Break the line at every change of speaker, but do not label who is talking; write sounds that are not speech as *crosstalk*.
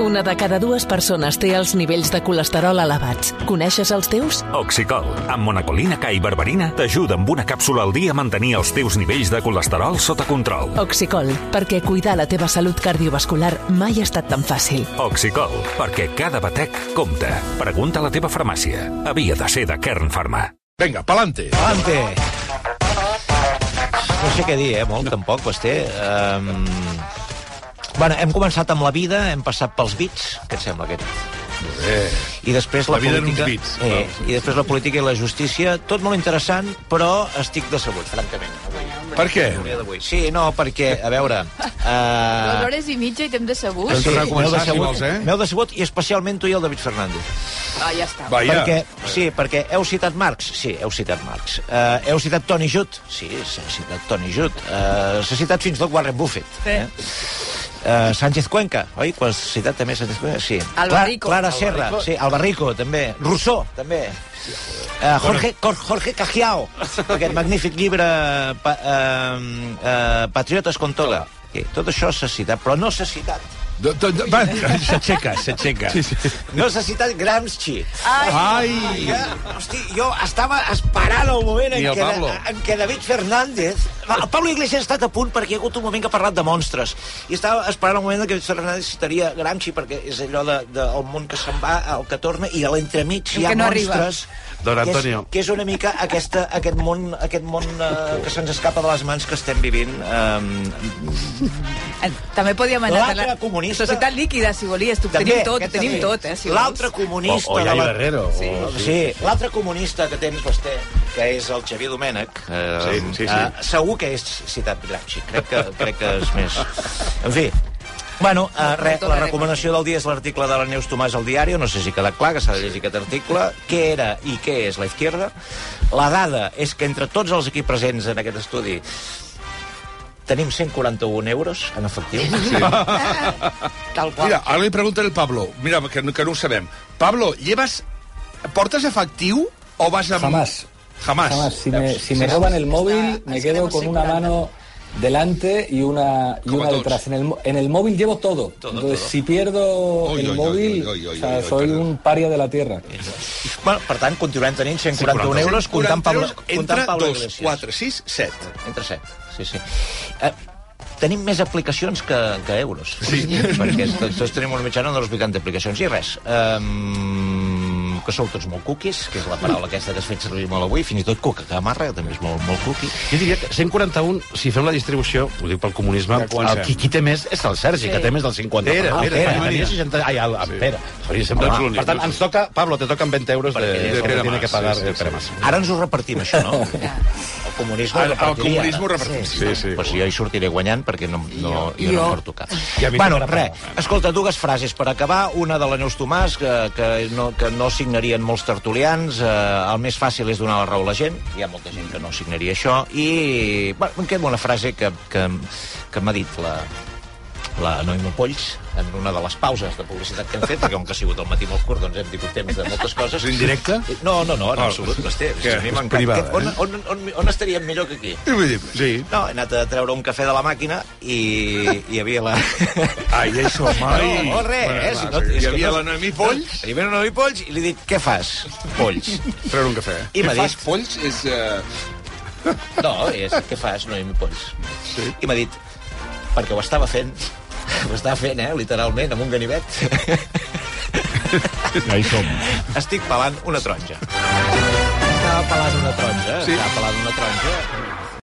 Una de cada dues persones té els nivells de colesterol elevats. Coneixes els teus?
Oxicol, amb monacolina K i berberina, t'ajuda amb una càpsula al dia a mantenir els teus nivells de colesterol sota control.
Oxicol, perquè cuidar la teva salut cardiovascular mai ha estat tan fàcil.
Oxicol, perquè cada batec compta. Pregunta a la teva farmàcia. Havia de ser de Kern Pharma.
Vinga, pa'lante.
Avante! No sé què dir, eh? Molt, tampoc, Basté. Um... Bueno, hem començat amb la vida, hem passat pels bits, què et sembla aquest?
Eh,
I després
La
la,
vida en uns
política...
bits,
eh,
clar.
I després la política i la justícia, tot molt interessant, però estic decebut, francament.
per què?
El dia d'avui. Sí, no, perquè, a veure...
Dues
Uh...
hores i mitja i temps de segur?
Doncs- tornar a començar, si
decebut,
vols, eh?
M'heu decebut, i especialment tu i el David Fernández.
Ah, ja està.
Vaja.
Perquè, sí, perquè heu citat Marx? Sí, heu citat Marx. Uh, heu citat Tony Judd? Sí, s'ha citat Tony Judd. Uh, s'ha citat fins i tot Warren Buffett.
Sí.
Uh, Sánchez Cuenca, oi? Quan s'ha citat també Sánchez Cuenca, sí.
Albarrico.
Clara, Clara Serra,
Albarrico.
sí. Albarrico, també. Rousseau, també. Uh, Jorge, Cor- Jorge Cajiao, aquest magnífic llibre pa, uh, uh, Patriotes con toga. Sí, tot això s'ha citat, però no s'ha citat.
Do- do- do- Va, s'aixeca, s'aixeca. Sí, sí.
No s'ha citat Gramsci.
Ai!
Ja, eh, hosti, jo estava esperant el moment en
Ni el
què,
Pablo.
en què David Fernández... El Pablo Iglesias ha estat a punt perquè hi ha hagut un moment que ha parlat de monstres. I estava esperant el moment en què David Fernández citaria Gramsci, perquè és allò del de, del món que se'n va, el que torna, i a l'entremig
El
hi ha
que no arriba.
monstres...
Don
que és-
Antonio.
Que és, una mica aquesta, aquest món, aquest món eh, que se'ns escapa de les mans que estem vivint. Eh,
Eh, També podíem anar a
L'altre comunista-
Societat líquida, si volies. Tu,
també,
tenim tot,
aquest
tenim
també.
tot, eh, si
L'altre
O,
comunista...
o
de
Yai
la-
Barrero.
Sí.
O...
Sí, l'altre comunista que tens vostè, que és el Xavier Domènech, eh,
Sí, sí, sí.
eh, segur que és citat Gramsci, crec que, crec que és més... En fi, Bueno, eh, re, la recomanació del dia és l'article de la Neus Tomàs al diari, no sé si queda clar que s'ha de llegir aquest article, què era i què és la izquierda. La dada és que entre tots els aquí presents en aquest estudi tenim 141 euros en efectiu. Sí.
Tal qual.
Mira, ara li pregunta el Pablo. Mira, que, no- que no ho sabem. Pablo, lleves... Portes efectiu o vas amb...
Jamás.
Jamás.
Jamás. Si me, si me roban el móvil, me quedo con una mano delante y una y
Como
una
todos.
detrás. En el, mo- en el móvil llevo todo. Entonces, si pierdo
Oy,
el
oy,
móvil,
oy, oy, oy,
o sea,
oy, oy,
soy
perdón.
un paria de la tierra.
Bueno, per tant, continuem tenint 141
141
euros, comptant Pablo,
entre
comptant Pablo
2,
Iglesias.
4, 6, 7.
Entre set, sí, sí. Eh, tenim més aplicacions que, que euros.
Sí.
Perquè tots, tots tenim una mitjana de les 80 aplicacions. I res, um, que sou tots molt cookies, que és la paraula aquesta que has fet servir molt avui, fins i tot cuca, que amarra, també és molt, molt cookie.
Jo diria que 141, si fem la distribució, ho dic pel comunisme,
De quants
el qui, qui té més és el Sergi,
Sí.
sí. que té més del 50.
Pere,
Ah,
Pere, Doncs Pere.
tenia 60... Ai, el, el Pere. Sí, sempre
Home,
ets l'únic. Per tant, ens toca... Pablo, te toquen 20 euros de,
ell és
de
el
que
Pere
tiene que
Mas,
pagar
sí, sí,
el Pere
sí.
Mas.
Ara ens ho repartim, això, no? El comunisme
El- el
repartiria.
comunisme ho repartim. Sí, sí.
Pues jo hi sortiré guanyant perquè no, no, jo, jo no
Jo.
em porto cap.
Ja m'hi
bueno,
tocarà
res, escolta, dues frases per acabar. Una de la Neus Tomàs, que, que, no, que no signarien molts tertulians. Eh, el més fàcil és donar la raó a la gent. Hi ha molta gent que no signaria això. I bueno, em queda una frase que, que, que m'ha dit la, la Noemi Polls en una de les pauses de publicitat que hem fet, perquè com que ha sigut el matí molt curt, doncs hem tingut temps de moltes coses.
És indirecte?
No, no, no, en
Ah,
absolut, Basté.
que
A mi
és
m'encanta.
privada,
on,
eh?
on, on, on estaríem millor que aquí?
I vull dir, sí.
No, he anat a treure un cafè de la màquina i hi havia
*laughs*
la...
Ai, això, mai.
No, no, res, eh, si no- és
hi
que
havia
no-
la Noemí Polls.
I ve una de polls i li he dit, què fas, polls?
Treure un cafè.
I
Què
m'ha
fas,
dit-
Polls? És... Uh...
No, és, què fas, no, i polls? Sí. I m'ha dit, perquè ho estava fent, ho estava fent, eh, literalment, amb un ganivet.
Ja hi som.
Estic pelant una taronja. Estava pelant una taronja,
Sí.
sí. estava pelant una taronja